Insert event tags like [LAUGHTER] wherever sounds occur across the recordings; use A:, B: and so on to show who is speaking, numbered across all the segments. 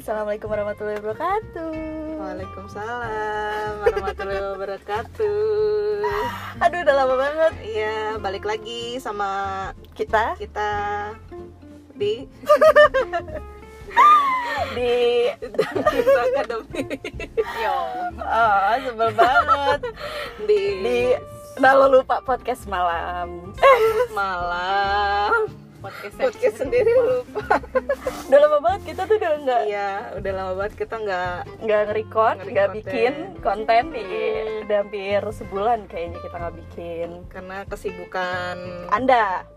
A: Assalamualaikum warahmatullahi wabarakatuh.
B: Waalaikumsalam warahmatullahi wabarakatuh.
A: Aduh, udah lama banget
B: Iya, balik lagi sama
A: kita
B: kita di
A: di
B: Duta Academy
A: yo, oh, sebel banget
B: di,
A: di Nah lo lupa podcast malam Eh,
B: malam
C: podcast
B: podcast sendiri lupa.
A: Udah lama banget kita tuh udah nggak
B: Iya, udah lama banget kita nggak
A: nggak nge-record, nggak
B: Nge-record,
A: bikin konten di
B: ya. Hmm.
A: udah hampir sebulan kayaknya kita nggak bikin.
B: karena kesibukan
A: Anda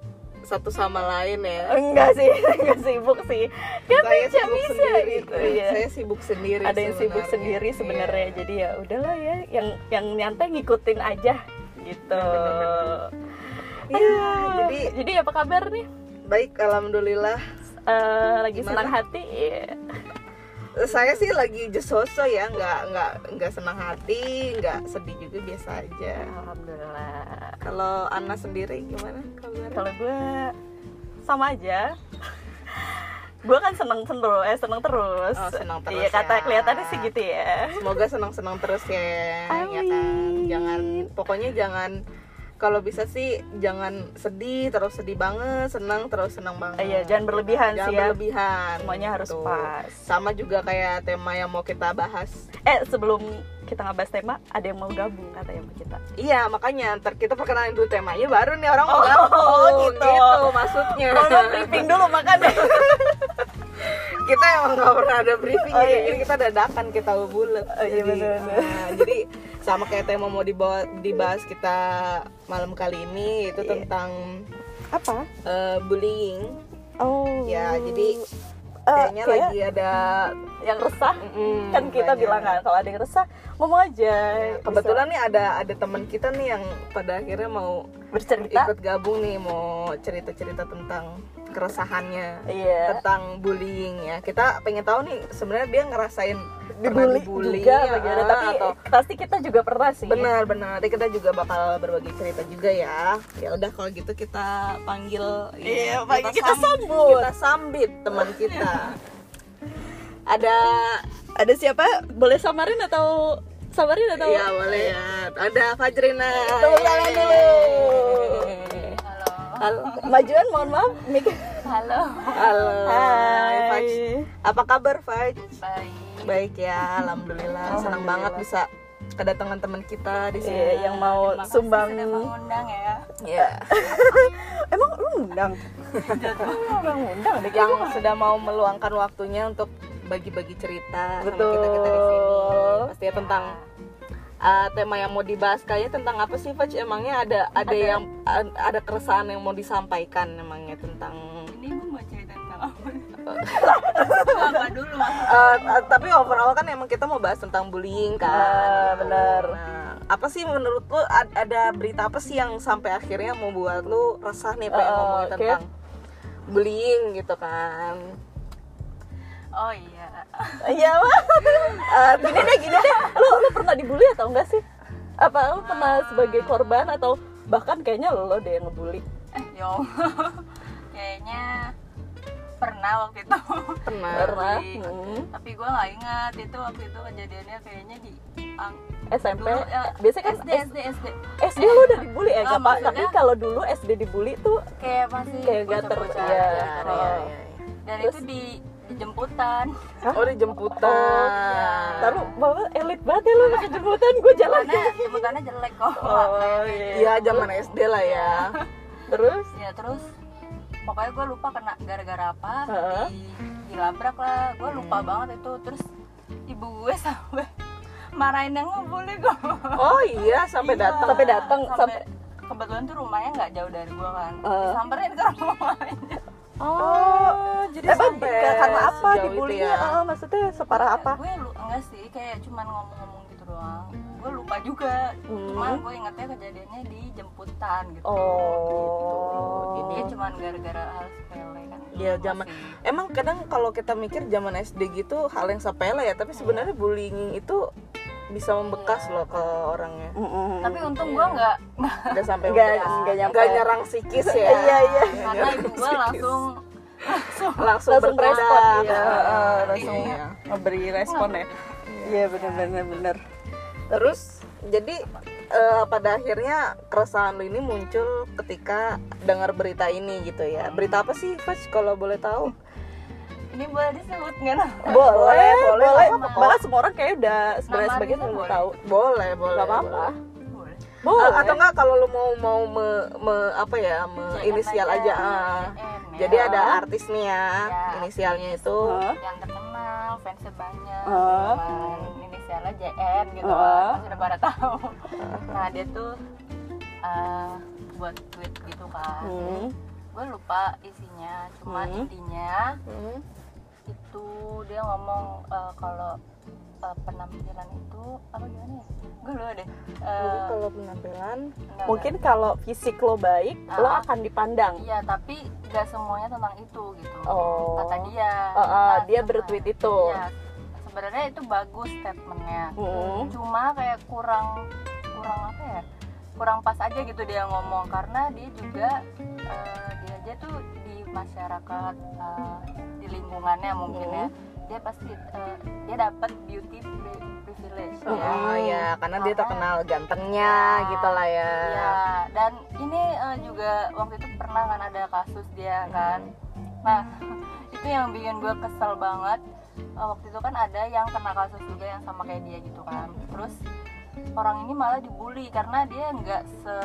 B: satu sama lain ya.
A: enggak sih, [LAUGHS] enggak sibuk sih. Ya bisa bisa gitu ya.
B: Iya, Saya sibuk sendiri.
A: Ada yang sibuk
B: sebenarnya.
A: sendiri
B: Iya.
A: sebenarnya. Jadi ya udahlah ya, yang yang nyantai ngikutin aja gitu.
B: Iya,
A: Aduh.
B: jadi
A: jadi apa kabar nih?
B: baik alhamdulillah.
A: Eh, lagi
B: Gimana?
A: senang hati. Iya.
B: saya sih lagi jesoso ya nggak nggak nggak senang hati nggak sedih juga biasa aja
A: Alhamdulillah.
B: kalau Ana sendiri gimana kabar
A: Kalau gue sama aja. [LAUGHS] gue kan seneng seneng eh seneng terus.
B: Oh, seneng terus
A: Iya kata
B: ya.
A: kelihatannya sih gitu ya.
B: semoga senang senang terus ya ya kan
A: Amin.
B: jangan pokoknya jangan kalau bisa sih jangan sedih terus sedih banget senang terus senang banget
A: Eh, Iya jangan berlebihan
B: jangan
A: sih ya.
B: berlebihan
A: Semuanya harus
B: Tuh.
A: pas.
B: sama juga kayak tema yang mau kita bahas
A: Eh sebelum kita ngebahas tema, ada yang mau gabung katanya sama kita.
B: iya makanya ntar kita perkenalan dulu temanya baru nih orang mau
A: Oh,
B: gabung,
A: [LAUGHS] gitu.
B: maksudnya
A: Kalau briefing dulu makanya.
B: kita emang nggak pernah ada briefing
A: Oh,
B: ya,
A: iya.
B: jadi kita dadakan kita bulat ah,
A: Oh, iya, bener-bener.
B: jadi sama kayak tema mau dibawa, dibahas kita malam kali ini itu
A: Iya.
B: tentang
A: Apa?
B: eh, bullying
A: Oh.
B: ya jadi
A: Eh,
B: kayaknya
A: kayak
B: lagi ada
A: yang resah
B: Mm-mm,
A: kan kita
B: makanya.
A: bilang kan kalau ada yang Iya, resah ngomong aja.
B: Ya, kebetulan nih ada ada teman kita nih yang pada akhirnya mau
A: Bisa bercerita.
B: ikut gabung nih mau cerita cerita tentang keresahannya
A: Iya.
B: tentang bullying ya kita pengen tahu nih sebenarnya dia ngerasain
A: dibully, ah, juga
B: ya,
A: bagaimana tapi iya.
B: atau
A: pasti kita juga pernah sih
B: benar benar nanti kita juga bakal berbagi cerita juga ya ya udah kalau gitu kita panggil
A: Iya,
B: ya,
A: panggil, kita
B: sam-
A: sambut. Iya.
B: kita sambit teman kita ada
A: ada siapa boleh samarin atau samarin atau
B: ya boleh ya ada Fajrina
A: Iya,
B: Iya,
A: Tepuk tangan dulu.
B: halo
A: majuan mohon maaf mik
C: halo
B: halo
A: Hai.
B: Faj apa kabar Faj
C: baik
B: baik ya alhamdulillah, senang banget bisa kedatangan teman kita di sini
A: Iya, yang mau
C: Makasih
A: sumbang
C: sudah mengundang ya
B: Iya.
A: emang lu [LAUGHS] ngundang orang ngundang deh
B: yang sudah mau meluangkan waktunya untuk bagi-bagi cerita
A: Betul.
B: sama kita kita di sini pastinya tentang uh, tema yang mau dibahas kayaknya tentang apa sih Faj emangnya ada ada, yang a- ada keresahan yang mau disampaikan emangnya tentang
C: ini gue mau cerita tentang apa apa dulu maksudnya?
B: Uh, uh, tapi overall kan emang kita mau bahas tentang bullying kan
A: Ah,
B: gitu.
A: benar.
B: Nah, apa sih menurut lu ad- ada berita apa sih yang sampai akhirnya membuat lu resah nih pengen
A: Uh,
B: ngomongin
A: oke.
B: tentang bullying gitu kan
C: oh iya [LAUGHS]
A: iya Mak. Eh, gini deh gini deh lu lu pernah dibully atau enggak sih apa lu pernah sebagai korban atau bahkan kayaknya lo deh yang ngebully
C: eh yo [LAUGHS] kayaknya pernah waktu itu
B: pernah
A: pernah
C: Ngebully.
A: hmm.
C: tapi gue nggak ingat itu waktu itu kejadiannya kayaknya di ang
A: SMP
C: dulu ya,
A: biasanya kan
C: SD
A: S-
C: SD SD
A: SD lu udah dibully ya
C: Eh,
A: nggak apa tapi
C: maksudnya-
A: kalau dulu SD dibully tuh
C: kayak masih
A: Kayak nggak ter-
C: bocah-bocah
A: iya,
C: gitu.
A: iya,
B: iya.
C: dan
A: Terus-
C: itu di di jemputan
B: Oh iya. di jemputan.
A: Oh, Taruh bawa elit banget ya lu pakai jemputan gue [LAUGHS] jalan.
C: karena jemputannya jelek kok
A: Oh iya.
B: Iya zaman SD lah [LAUGHS] ya.
A: Terus
C: ya terus pokoknya gue lupa kena gara-gara apa
A: Heeh. Hmm.
C: di dilabrak lah gue lupa banget itu terus ibu gue [LAUGHS] sampai marahin yang ngebully gue
B: Oh iya sampai datang.
A: sampai datang sampai
C: kebetulan tuh rumahnya nggak jauh dari gue kan
A: Heeh.
C: samperin ke rumahnya
B: Oh jadi
A: apa
B: sampai
A: Eh, karena apa
B: sejauh itu
A: dibulinya?
B: ya.
A: Ah, maksudnya separah apa?
C: gue lu enggak sih kayak cuman ngomong-ngomong gitu doang gue lupa juga cuman
A: Hmm.
C: gue ingetnya kejadiannya di jemputan gitu
A: Oh.
C: jadi ya cuman gara-gara hal sepele kan
B: Iya, zaman-
C: Masih-
B: Emang kadang kalau kita mikir zaman SD gitu hal yang sepele ya, tapi sebenarnya bullying itu bisa membekas loh ke [LAUGHS] orangnya.
C: tapi untung gue nggak [LAUGHS]
B: Udah sampai
A: Nggak-
B: membekas.
A: nggak nyampe.
B: [LAUGHS] Nggak nyerang psikis ya.
A: Iya, iya.
B: Nggak
C: karena
B: nyerang
C: ibu gue
B: psikis.
C: langsung
B: langsung,
A: langsung
B: bertindak.
A: respon ya
B: Heeh,
A: langsung
B: iya.
A: memberi respon ya iya benar-benar benar
B: Terus jadi eh, pada akhirnya keresahan lu ini muncul ketika dengar berita ini gitu ya. Berita apa sih, Faj? Kalau boleh tahu?
C: Ini boleh disebut nggak Nam?
A: boleh
B: boleh,
A: boleh,
B: apa-apa kok.
A: bahkan semua orang kayaknya udah sebenarnya
C: Nama
A: sebagian
C: Risa
A: udah
C: boleh.
A: tahu
B: Boleh, boleh.
A: nggak apa-apa
B: boleh.
C: Boleh.
A: boleh
B: Eh, atau enggak kalau lu mau mau me- me- apa ya, me-
C: Jangan
B: inisial aja. ah.
C: JM ya.
B: Jadi ada artis nih ya,
C: Ya.
B: inisialnya itu
A: Hah?
C: yang terkenal fansnya banyak
A: Heeh.
C: cuman inisialnya JN gitu
A: Heeh.
C: kan pasti udah pada tahu nah dia tuh eh, buat tweet gitu kan
A: Hmm.
C: gue lupa isinya cuma
A: Hmm.
C: intinya
B: Hmm.
C: itu dia ngomong eh, kalau eh, penampilan itu apa gimana ya gue lupa deh
B: Jadi
C: Eh,
B: kalau penampilan
C: bentar,
A: mungkin kalau fisik lo baik lo
C: Ah.
A: akan dipandang
C: iya tapi gak semuanya tentang itu gitu
A: oh
C: kata dia
A: Ah, ah,
C: Nah,
A: dia
C: sama.
A: bertweet itu
C: Iya, sebenarnya itu bagus statementnya
A: Hmm.
C: cuma kayak kurang kurang apa ya kurang pas aja gitu dia ngomong karena dia juga eh, dia aja tuh di masyarakat eh, di lingkungannya mungkin ya
A: Hmm.
C: dia pasti eh, dia dapat beauty pri- privilege ya
A: iya.
B: Oh ya, karena dia terkenal gantengnya
C: Ya.
B: gitu lah ya.
C: Iya, dan ini eh, juga waktu itu pernah kan ada kasus
A: Hmm.
C: dia kan. Nah, [LAUGHS] itu yang bikin gue kesel banget. Eh, waktu itu kan ada yang kena kasus juga yang sama kayak dia gitu kan. Terus orang ini malah dibully karena dia nggak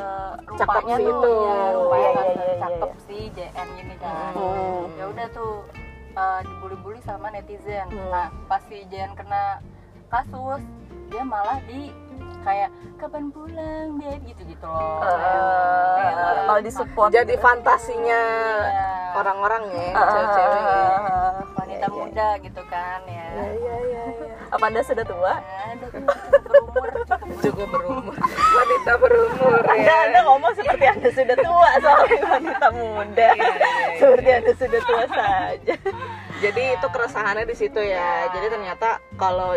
B: Cakep
C: serupanya
B: sih
C: tuh,
B: itu.
C: ya, rupanya
A: Iya,
C: nggak
A: iya, iya, iya,
C: cakep
A: iya.
C: si JN ini kan.
A: Hmm.
C: Ya udah tuh eh, dibully-bully sama netizen. Nah, pas si JN kena kasus, dia malah di kayak kapan pulang beb gitu-gitu
A: Ah,
C: loh. Kayak malah
A: Eh, kalau ah, disupport
B: Jadi fantasinya
C: Iya.
B: orang-orang ya,
A: Ah, ah,
B: cewek-cewek. ya.
A: ah, ah.
C: wanita muda gitu kan ya.
B: Iya, iya, iya.
A: apa anda sudah tua
C: Nah, udah tuh, cukup berumur cukup
B: juga berumur wanita berumur ya.
A: Anda, anda ngomong seperti Anda sudah tua soalnya [LAUGHS] wanita muda. seperti Anda sudah tua saja.
B: jadi itu keresahannya di situ
C: Iya.
B: ya jadi ternyata kalau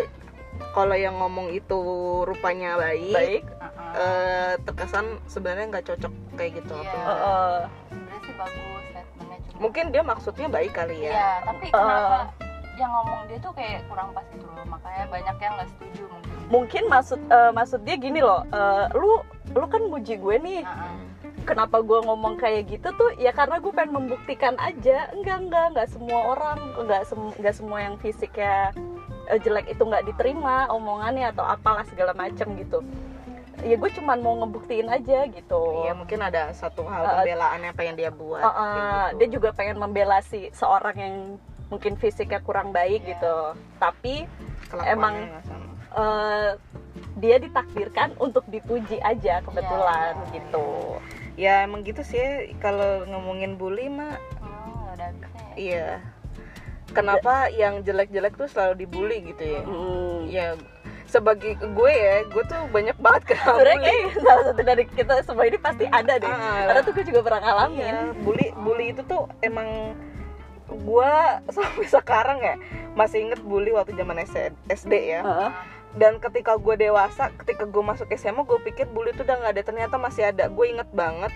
B: kalau yang ngomong itu rupanya baik,
A: Baik.
C: Ah,
B: eh, terkesan sebenarnya nggak cocok kayak gitu
A: eh,
B: apa.
C: Iya.
A: eh,
C: sebenarnya sih bagus statementnya cuma
B: mungkin dia maksudnya baik kali
C: Iya,
B: ya
C: tapi kenapa yang ngomong dia tuh kayak kurang pas gitu loh. Makanya banyak yang nggak setuju mungkin.
A: mungkin maksud eh, maksud dia gini loh. eh, lu lu kan muji gue nih.
C: Heeh.
A: Kenapa gue ngomong kayak gitu tuh? Ya karena gue pengen membuktikan aja. Enggak enggak enggak semua orang enggak sem- enggak semua yang fisiknya eh, jelek itu nggak diterima omongannya atau apalah segala macem gitu. Ya gue cuman mau ngebuktiin aja gitu.
B: Iya, mungkin ada satu hal
A: Eh, eh.
B: pembelaannya apa yang dia buat
A: Uh-uh,
B: kayak gitu.
A: dia juga pengen membela si seorang yang mungkin fisiknya kurang baik
C: Iya.
A: gitu tapi
B: Kelakuannya
A: emang-
B: nggak sama.
A: eh, dia ditakdirkan untuk dipuji aja kebetulan
C: Iya.
A: gitu
B: ya emang gitu sih kalau ngomongin bully mah
C: Hmm, nggak ada habisnya ya.
B: iya kenapa yang jelek-jelek tuh selalu dibully gitu ya
A: Hmm.
B: ya sebagai gue ya gue tuh banyak banget kena
A: Sebenarnya
B: bully
A: kayak gitu salah satu dari kita semua ini pasti ada deh
B: Ah.
A: karena tuh gue juga pernah ngalamin
B: Iya, bully bully itu tuh emang gue [LAUGHS] sampai sekarang ya masih inget bully waktu zaman S- SD ya
A: Heeh.
B: dan ketika gue dewasa ketika gue masuk SMA gue pikir bully itu udah nggak ada ternyata masih ada gue inget banget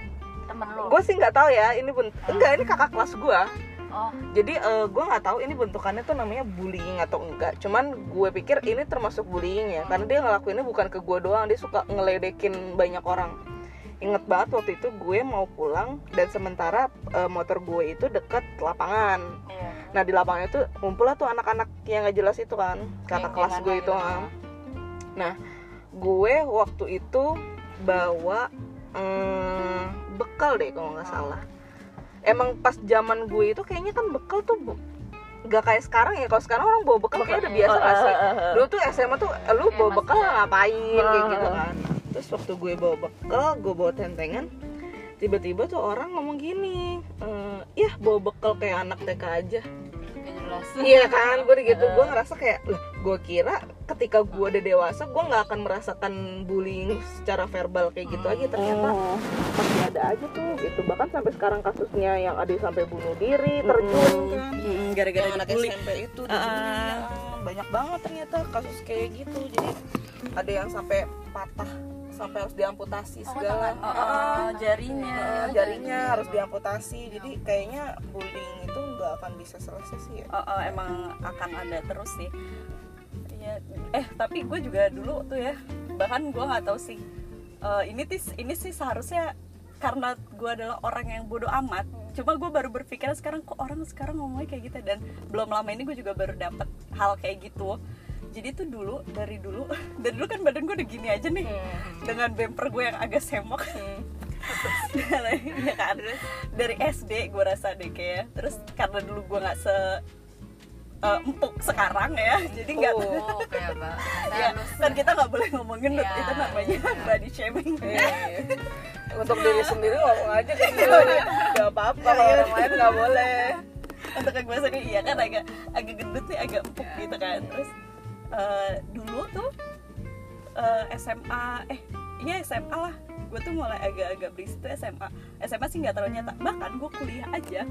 C: Temen lu.
B: gue sih nggak tahu ya ini bent enggak ini kakak kelas gue
C: Oh,
B: jadi eh, gue nggak tahu ini bentukannya tuh namanya bullying atau enggak cuman gue pikir ini termasuk bullying ya karena dia ngelakuinnya bukan ke gue doang dia suka ngeledekin banyak orang inget banget waktu itu gue mau pulang dan sementara eh, motor gue itu deket lapangan
C: iya.
B: nah di lapangan itu ngumpul lah tuh anak-anak yang nggak jelas itu kan kakak kelas
C: Geng-gengan
B: gue itu
C: lah gitu.
B: ah. nah gue waktu itu bawa mm, bekal deh kalau nggak salah emang pas zaman gue itu kayaknya kan bekal tuh bu- nggak kayak sekarang ya kalau sekarang orang bawa bekal kayak udah biasa
A: Eh,
B: nggak sih
A: eh, eh,
B: dulu tuh SMA tuh eh, lu
C: Kayak
B: bawa
C: masih
B: bekal
C: ada.
B: ngapain kayak
A: Ah.
B: gitu kan terus waktu gue bawa bekal gue bawa tentengan tiba-tiba tuh orang ngomong gini eh yah bawa bekal kayak anak TK aja
C: Gak jelas. Oh,
B: iya kan gue gitu gue ngerasa kayak "Lah, gue kira ketika gue udah dewasa gue nggak akan merasakan bullying secara verbal kayak gitu aja ternyata
A: Oh.
B: masih ada aja tuh gitu bahkan sampai sekarang kasusnya yang ada yang sampai bunuh diri terjun kan
A: Mm-mm, Hmm, gara-gara
B: yang anak
A: dibully.
B: SMP itu dibully, ya, banyak banget ternyata kasus kayak gitu jadi ada yang sampai patah sampai harus diamputasi
C: Oh,
B: segala
C: tangan.
A: Oh,
B: Ah, ah,
A: oh, jarinya.
B: ah,
C: Iya,
B: jarinya
C: jarinya.
B: harus diamputasi jadi kayaknya bullying itu nggak akan bisa selesai sih ya
A: Oh, oh, emang akan ada terus sih. Iya. Eh tapi gue juga dulu tuh ya bahkan gue nggak tahu sih. eh, ini tis ini sih seharusnya karena gue adalah orang yang bodoh amat. Cuma gue baru berpikir sekarang kok orang sekarang ngomongnya kayak gitu dan belum lama ini gue juga baru dapet hal kayak gitu. Jadi tuh dulu dari dulu [LAUGHS] dari dulu kan badan gue udah gini aja nih dengan bumper gue yang agak semok [LAUGHS] Iya kan? dari SD gue rasa deh kayak terus karena dulu gue nggak se eh, empuk sekarang ya jadi nggak
C: Oh, kayak apa?
A: [LAUGHS] ya, kan kita nggak boleh ngomongin
C: Iya.
A: itu namanya body shaming
B: Iya, iya. untuk diri sendiri ngomong aja kayak gitu nggak apa-apa kalau orang lain nggak boleh
A: untuk yang gue sendiri iya kan agak agak gendut nih agak empuk
C: Iya.
A: gitu kan terus eh, dulu tuh eh, SMA eh iya SMA lah gue tuh mulai agak-agak berisik tuh SMA SMA sih nggak terlalu nyata bahkan gue kuliah aja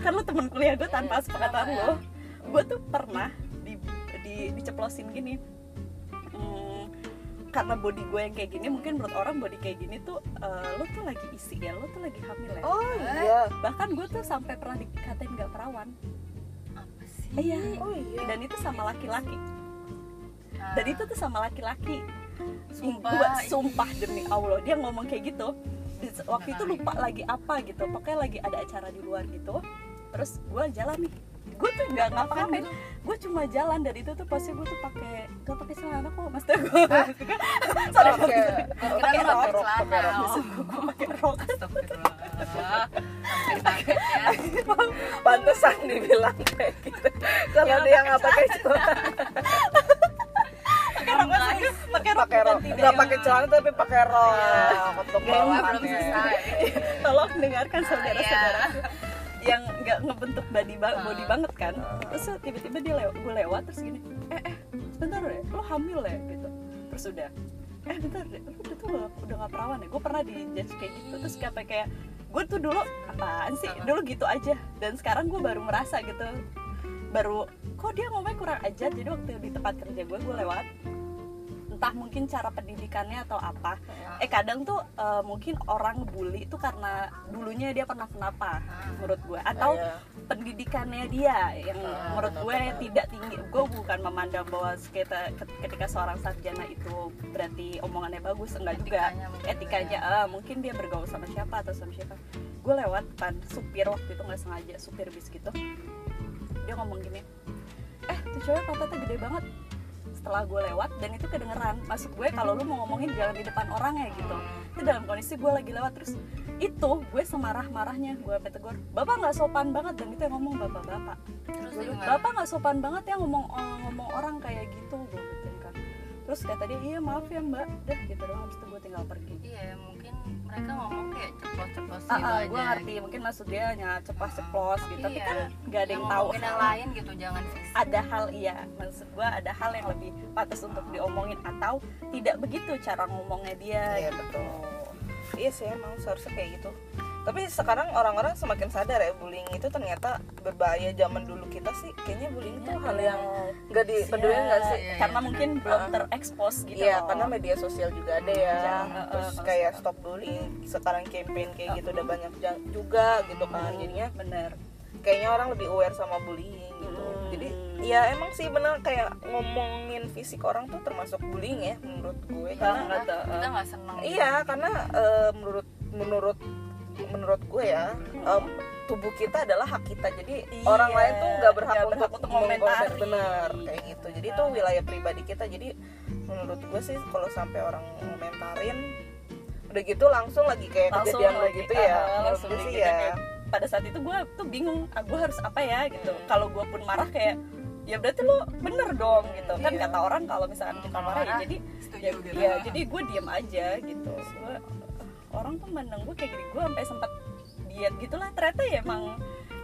A: kan lo temen kuliah gue
C: Iya,
A: tanpa sepengetahuan lo gue tuh pernah di, di- diceplosin gini Hmm, karena body gue yang kayak gini mungkin menurut orang body kayak gini tuh eh, lo tuh lagi isi ya lo tuh lagi hamil ya
B: oh iya
A: bahkan gue tuh sampai pernah dikatain nggak perawan
C: Apa sih?
A: iya
B: oh iya
A: dan itu sama laki-laki
C: Ah,
A: dan itu tuh sama laki-laki
C: Sumpah.
A: Gua sumpah demi allah dia ngomong kayak gitu Di- waktu itu lupa lagi apa gitu pokoknya lagi ada acara di luar gitu terus gue jalan nih gue tuh nggak
B: kan
A: ngapa-ngapain gue cuma jalan dari itu tuh pasti gue tuh pakai gak pakai celana kok mas tuh gue [LAUGHS] sorry
B: oke
C: Kira-kira
B: gitu. kan Pakai
C: rok,
B: rok, rok,
C: celana.
B: pakai rok.
C: Oh,
A: gue pakai rok
C: Astagfirullah. Sampai kaget ya.
B: pantesan dibilang kayak gitu kalau dia nggak pakai celana
A: pakai rok mas pakai rok
B: pakai rok
A: bukan
B: nggak
A: tidak
B: pakai celana tapi pakai rok untuk
C: Gua belum
B: bawahnya.
C: selesai.
A: tolong dengarkan
B: Iya.
C: Iya,
A: saudara-saudara yang nggak ngebentuk body, ba-
C: Ah.
A: body banget kan terus tuh tiba-tiba dia lew- gue lewat terus gini eh eh bentar deh lo hamil ya gitu terus udah eh bentar deh lo udah tuh nggak- udah nggak perawan ya gue pernah di judge kayak gitu terus kayak kayak gue tuh dulu apaan sih
C: Ah.
A: dulu gitu aja dan sekarang gue baru merasa gitu baru kok dia ngomongnya kurang ajar jadi waktu di tempat kerja gue gue lewat entah mungkin cara pendidikannya atau apa eh kadang tuh eh, mungkin orang bully itu karena dulunya dia pernah kenapa menurut gue atau
B: Iya.
A: pendidikannya dia yang
B: Ah,
A: menurut gue
B: benar-benar.
A: tidak tinggi gue bukan memandang bahwa sekita- ketika seorang sarjana itu berarti omongannya bagus enggak juga
C: Etikanya mungkin.
A: etikanya ah, mungkin dia bergaul sama siapa atau sama siapa gue lewat kan supir waktu itu nggak sengaja supir bis gitu dia ngomong gini eh tuh cewek pantatnya gede banget setelah gue lewat dan itu kedengeran masuk gue kalau lu mau ngomongin jalan di depan orang ya gitu
C: Hmm.
A: itu dalam kondisi gue lagi lewat terus itu gue semarah marahnya gue sampai tegur bapak nggak sopan banget dan itu yang ngomong bapak bapak
C: Terus
A: Gua bilang,
C: gimana?
A: bapak nggak sopan banget ya ngomong ngomong orang kayak gitu gue gituin kan terus kata dia iya maaf ya mbak dah gitu doang habis itu gue tinggal pergi
C: Iya, mungkin mereka ngomong kayak ceplos-ceplos
A: ah,
C: gitu
A: ah,
C: aja.
A: gue ngerti mungkin maksud dia hanya ceplos ceplos gitu tapi
C: Iya.
A: kan nggak ada yang tahu
C: ngomongin yang lain gitu, jangan fisik.
A: ada hal iya maksud gue ada hal yang lebih pantas untuk diomongin atau tidak begitu cara ngomongnya dia
B: Iya betul. Iya sih emang seharusnya kayak gitu. Tapi sekarang orang-orang semakin sadar ya bullying itu ternyata berbahaya. Zaman dulu kita sih kayaknya bullying itu hal yang nggak dipeduli nggak sih?
C: Iya,
A: karena
C: iya,
A: mungkin belum terekspos gitu
B: Iya,
A: loh.
B: karena media sosial juga ada ya.
A: Jangan,
B: Terus
A: eh, eh,
B: kayak stop bullying. Sekarang campaign kayak gitu udah banyak ja- juga gitu kan. Jadinya
A: Hmm, bener
B: kayaknya orang lebih aware sama bullying gitu.
A: Hmm.
B: Jadi ya emang sih bener kayak ngomongin fisik orang tuh termasuk bullying ya menurut gue. Karena
A: Banget,
C: Kita-
A: eh.
C: kita nggak seneng.
B: Iya, karena eh, menurut menurut menurut gue ya em, tubuh kita adalah hak kita. Jadi
A: Iya,
B: orang lain tuh nggak berhak,
A: nggak berhak
B: untuk
A: untuk Iya. komentari.
B: benar kayak gitu. Jadi itu wilayah pribadi kita. Jadi menurut gue sih kalau sampai orang komentarin udah gitu langsung lagi kayak kejadian lo
A: lagi,
B: gitu
A: ah,
B: ya. Menurut
A: langsung
B: gue sih
A: gitu
B: ya.
A: kayak, pada saat itu gue tuh bingung ah, gue harus apa ya gitu
B: Hmm.
A: kalau gue pun marah kayak ya berarti lo bener dong gitu kan
B: Iya.
A: kata orang kalau misalkan kita
C: Kalau
A: marah ya
C: marah,
A: jadi
C: Setuju
A: ya,
C: gitu.
A: ya, jadi gue diem aja gitu gue orang tuh mandang gue kayak gini gue sampai sempat diet gitulah ternyata ya emang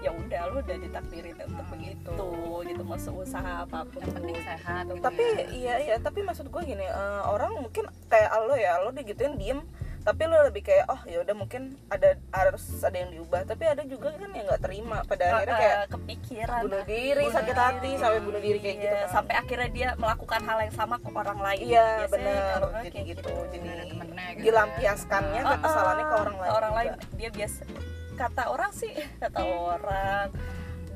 A: ya udah lu udah ditakdirin untuk begitu gitu mau usaha apapun
C: yang penting sehat. gitu
B: Tapi
C: ya.
B: iya iya, tapi maksud gue gini, eh, orang mungkin kayak lo ya, lo digituin diem tapi lu lebih kayak oh ya udah mungkin ada harus ada yang diubah tapi ada juga kan yang nggak terima pada akhirnya kayak
A: Eh, kepikiran
B: bunuh diri
A: bunuh
B: sakit hati
A: diri.
B: sampai bunuh diri kayak
A: Iya,
B: gitu kan.
A: sampai akhirnya dia melakukan hal yang sama ke orang lain gitu
B: iya
A: Biasanya
B: benar
A: orang-orang
B: jadi
A: kayak
B: gitu jadi
C: Ada temennya gitu ya.
B: dilampiaskannya
A: Ah,
B: kan kesalahannya ke orang lain
A: orang lain
B: juga.
A: dia biasa kata orang sih [LAUGHS] kata orang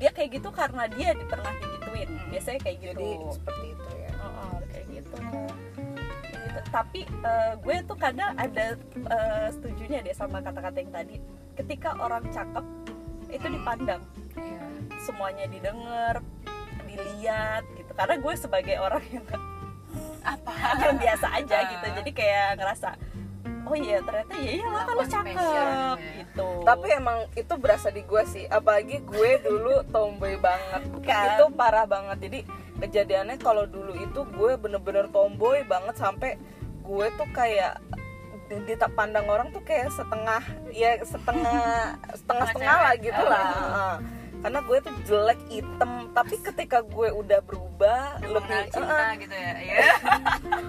A: dia kayak gitu karena dia di- pernah digituin biasanya kayak gitu
B: jadi seperti itu ya
A: Oh, kayak gitu Kayak gitu. tapi eh, gue tuh kadang ada eh, setujunya deh sama kata-kata yang tadi ketika orang cakep itu
B: Mm.
A: dipandang
C: Iya.
A: semuanya didengar dilihat gitu karena gue sebagai orang yang apa [LAUGHS] yang biasa aja
C: Ah.
A: gitu jadi kayak ngerasa oh iya ternyata ya iyalah kalau
C: Lawan
A: cakep
C: fashion, ya.
A: gitu
B: tapi emang itu berasa di gue sih apalagi gue dulu tomboy banget
A: Kan.
B: itu parah banget jadi kejadiannya kalau dulu itu gue bener-bener tomboy banget sampai gue tuh kayak di- di pandang orang tuh kayak setengah ya setengah setengah setengah lah
C: cewek.
B: gitu lah Heeh. karena gue tuh jelek item tapi ketika gue udah berubah
C: Lebih
B: lebih eh,
C: cinta gitu ya. Iya.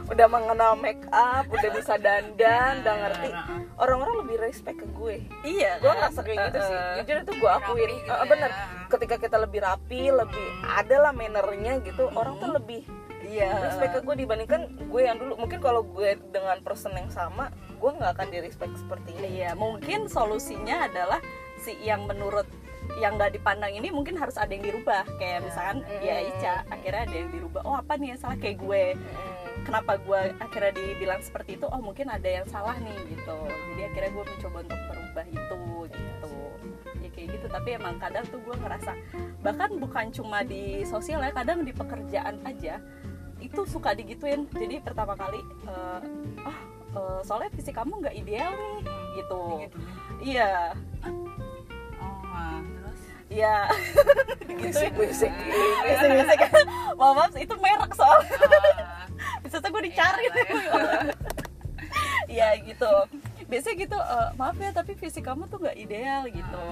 B: udah mengenal make up udah bisa dandan udah ngerti
C: Nah, nah, nah.
B: orang-orang lebih respect ke gue
A: iya
B: gue ngerasa kayak gitu sih jujur itu gue akuin
C: Rapi gitu
B: Eh,
C: ya.
B: bener ketika kita lebih rapi lebih adalah mannernya gitu orang tuh lebih
A: iya
B: respect ke gue dibandingkan gue yang dulu mungkin kalau gue dengan person yang sama gue nggak akan di respect seperti ini
A: iya mungkin solusinya adalah si yang menurut yang nggak dipandang ini mungkin harus ada yang dirubah kayak misalkan
C: Iya.
A: ya Ica akhirnya ada yang dirubah oh apa nih yang salah kayak gue kenapa gue akhirnya dibilang seperti itu oh mungkin ada yang salah nih gitu jadi akhirnya gue mencoba untuk merubah itu gitu ya kayak gitu tapi emang kadang tuh gue ngerasa bahkan bukan cuma di sosial ya kadang di pekerjaan aja itu suka digituin jadi pertama kali eh, ah eh, soalnya fisik kamu nggak ideal nih gitu
C: Gitu.
A: iya
C: Oh, nah, terus
A: iya
B: gitu berisik
A: Bisik-bisik. Mohon maaf itu merek soalnya
C: ah,
A: bisa tuh gue dicari
C: gitu
A: ya gitu biasanya gitu eh, maaf ya tapi fisik kamu tuh nggak ideal gitu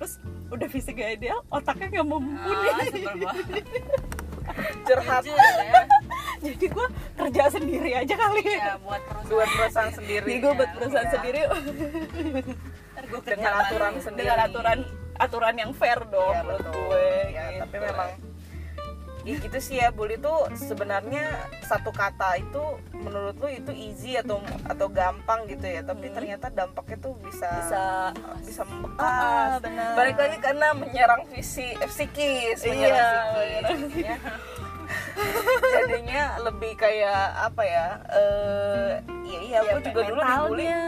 A: terus udah fisik gak ideal otaknya nggak mumpuni
C: ah, sebel banget.
B: curhat
C: Jujur ya.
A: [LAUGHS] jadi gue kerja sendiri aja kali
B: Iya,
C: Ya, buat perusahaan
B: buat perusahaan
A: jadi
B: sendiri
A: gue buat perusahaan
C: iya.
A: sendiri
C: Ntar gua kerja
B: dengan
C: lagi.
B: aturan sendiri
A: dengan aturan aturan yang fair dong
B: Iya,
A: menurut
B: betul.
A: gue
B: Iya,
A: gitu.
B: tapi memang ya gitu sih ya bully tuh sebenarnya satu kata itu menurut lu itu easy atau atau gampang gitu ya tapi
A: Hmm.
B: ternyata dampaknya tuh bisa
A: bisa ah,
B: bisa membekas
A: benar
B: balik lagi karena menyerang visi eh, psikis menyerang psikis
A: iya.
B: [LAUGHS] jadinya lebih kayak apa ya eh iya iya
A: Ya,
B: aku juga dulu dibully
A: mentalnya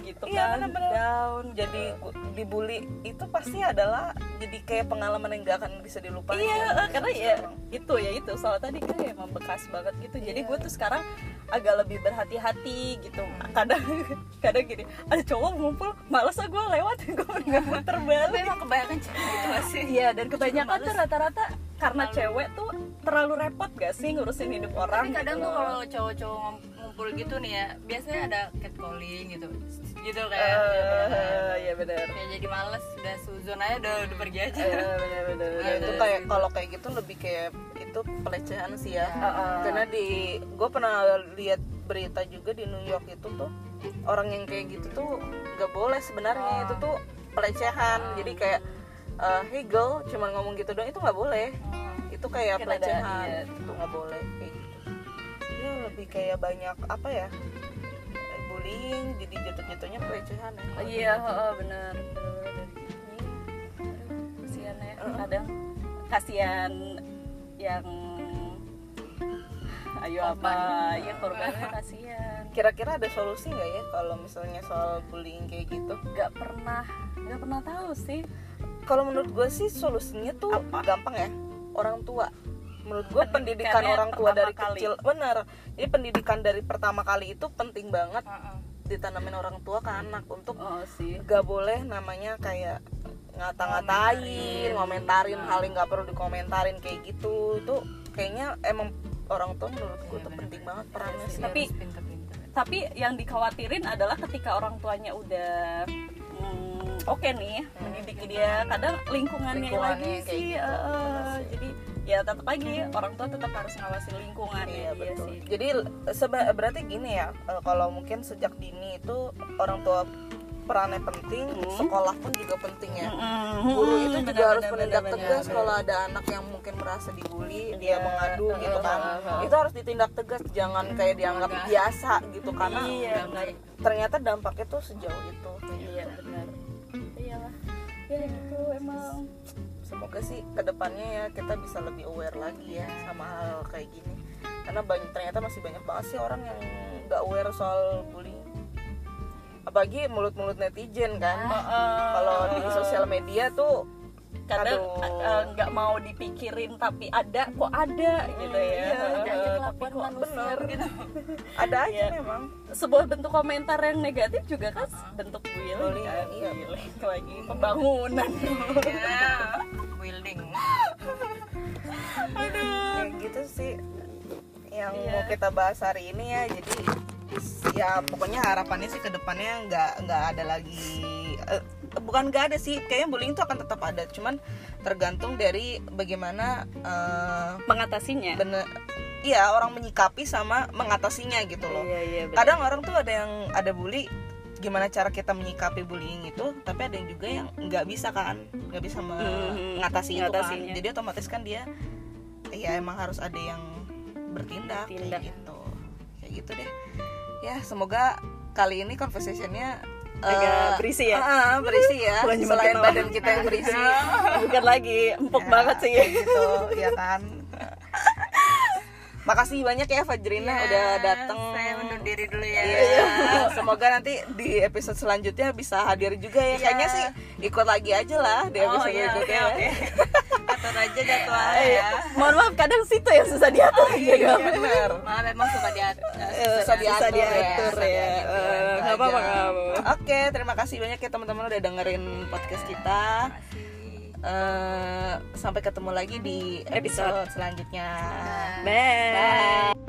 A: gitu
B: Iya,
A: kan
B: benar-benar.
A: down
B: jadi gu- dibully itu pasti adalah jadi kayak pengalaman yang gak akan bisa dilupain
A: Iya,
B: ya,
A: eh, karena ya
B: sekarang.
A: itu ya itu soal tadi kan ya membekas banget gitu. Jadi
B: Iya.
A: gue tuh sekarang agak lebih berhati-hati gitu. Kadang [LAUGHS] kadang gini, ada cowok ngumpul, males ah gue lewat, [LAUGHS] gue nggak muter
C: Tapi
A: balik.
C: emang kebanyakan cewek gitu gak sih?
A: Iya, dan kebanyakan
C: males.
A: tuh rata-rata karena
C: Terlalu.
A: cewek tuh terlalu repot gak sih ngurusin hidup orang.
C: Tapi kadang
A: gitu
C: tuh
A: loh.
C: kalau cowok-cowok ngom- ngumpul gitu nih ya, biasanya ada catcalling gitu. Gitu
A: Eh,
C: kayak.
A: ya benar.
C: Ya jadi males, udah suzon aja udah, udah pergi aja.
A: Iya,
C: [LAUGHS]
A: benar benar.
B: Ya, itu kayak kalau kayak gitu lebih kayak itu pelecehan sih ya.
A: Heeh.
B: Karena di gue pernah lihat berita juga di New York itu tuh orang yang kayak gitu tuh nggak boleh sebenarnya itu tuh pelecehan. Jadi kayak eh hey girl cuman ngomong gitu doang itu nggak boleh. Itu kayak
A: Mungkin ada,
B: pelecehan.
A: iya.
B: Itu nggak boleh kayak gitu. Ya lebih kayak banyak apa ya? eh, bullying jadi jatuh-jatuhnya pelecehan ya.
A: Oh, Iya, heeh, benar. Benar, benar. Kasihan ya, kadang kasihan yang ayo apa
C: Korban.
A: ya korbannya kasihan
B: Kira-kira ada solusi nggak ya kalau misalnya soal bullying kayak gitu?
A: nggak pernah nggak pernah tahu sih
B: kalau menurut gue sih solusinya tuh
A: Apa?
B: gampang ya orang tua menurut gue pendidikan
A: Pendidikannya
B: orang tua
A: pertama
B: dari
A: kali.
B: kecil bener jadi pendidikan dari pertama kali itu penting banget
C: Heeh.
B: ditanamin orang tua ke anak untuk
A: oh sih
B: gak boleh namanya kayak ngata-ngatain ngomentarin hal yang gak perlu dikomentarin kayak gitu itu kayaknya emang orang tua menurut gue
C: Iya,
B: tuh
C: bener,
B: penting
C: bener.
B: banget perannya sih
A: Tapi-
C: Harus pinter-pinter.
A: tapi yang dikhawatirin adalah ketika orang tuanya udah hmm, oke nih mendidik dia kadang lingkungannya,
B: Lingkungannya
A: lagi
B: kayak
A: sih
B: gitu,
A: eh,
B: bener
A: eh,
B: sih.
A: jadi ya tetap lagi orang tua tetap harus ngawasi lingkungannya
B: Iya
A: dia
B: betul.
A: sih
B: Jadi seba- berarti gini ya, e, kalau mungkin sejak dini itu orang tua perannya penting,
A: Hmm.
B: sekolah pun juga penting ya.
A: Mm-mm.
B: Guru itu juga
A: Benar,
B: harus
A: benar,
B: menindak
A: benar,
B: tegas
A: benar.
B: kalau ada anak yang mungkin merasa dibully, dia
A: Iya.
B: mengadu gitu
A: Heeh,
B: kan.
A: heeh, heeh.
B: Itu harus ditindak tegas, jangan kayak dianggap
C: Enggak.
B: biasa gitu karena
A: Iya, benar.
B: ternyata dampaknya tuh sejauh itu.
A: iya benar iyalah ya gitu emang
B: Semoga sih kedepannya ya kita bisa lebih aware lagi ya sama hal kayak gini. Karena banyak ternyata masih banyak banget sih orang yang nggak aware soal bullying. Apalagi mulut-mulut netizen
A: Ah,
B: kan. Kalau di sosial media tuh
A: kadang
B: Aduh.
A: eh, nggak mau dipikirin tapi ada kok ada gitu ya
B: iya,
C: ada aja
A: Eh,
C: kelakuan
A: tapi kok
C: manusia,
A: bener gitu
B: ada aja
A: Iya.
B: memang.
A: sebuah bentuk komentar yang negatif juga kan bentuk bullying
B: Ah, Bullying,
A: kan
B: iya.
A: Bullying lagi
B: [LAUGHS]
A: pembangunan
C: Ya, building.
B: Ya, gitu sih yang
A: Iya.
B: mau kita bahas hari ini ya. Jadi ya pokoknya harapannya sih kedepannya nggak nggak ada lagi eh, bukan nggak ada sih kayaknya bullying itu akan tetap ada cuman tergantung dari bagaimana eh,
A: mengatasinya
B: bener iya orang menyikapi sama mengatasinya gitu loh
A: iya iya benar.
B: kadang orang tuh ada yang ada bully gimana cara kita menyikapi bullying itu tapi ada yang juga yang nggak bisa kan nggak bisa
A: Mhm,
B: mengatasi itu kan
A: ngatasinya.
B: jadi otomatis kan dia ya emang harus ada yang bertindak,
A: Bertindak.
B: kayak gitu kayak gitu deh ya semoga kali ini conversationnya
A: agak
B: eh,
A: berisi ya
B: eh, berisi ya
A: Bukan cuma
B: selain
A: ketawa.
B: badan kita yang
A: [LAUGHS]
B: berisi
A: bukan lagi empuk
B: Ya,
A: banget sih
B: kayak gitu
C: iya
B: ya kan makasih banyak ya Fajrina
A: Iya,
C: Ya,
B: udah dateng
C: Saya undur diri dulu ya.
B: Iya, semoga nanti di episode selanjutnya bisa hadir juga ya.
C: Iya.
B: Kayaknya sih ikut lagi aja lah di
C: Oh
B: episode
C: iya, oke
B: berikutnya. ya.
C: oke. Atur aja jadwal
A: Eh,
C: ya.
A: mohon maaf kadang situ yang susah diatur gitu.
B: Iya,
A: juga
B: benar. Iya,
C: Maaf emang suka eh, diatur.
B: Susah Eh, diatur,
A: susah diatur
B: susah
A: ya.
B: diatur,
A: Eh,
B: gitu
A: nggak apa-apa,
B: aja.
A: nggak apa-apa.
B: Oke, terima kasih banyak ya teman-teman udah dengerin
C: Iya,
B: podcast kita.
C: Iya.
B: Eh, sampai ketemu lagi di episode selanjutnya.
C: Bye.
A: Bye.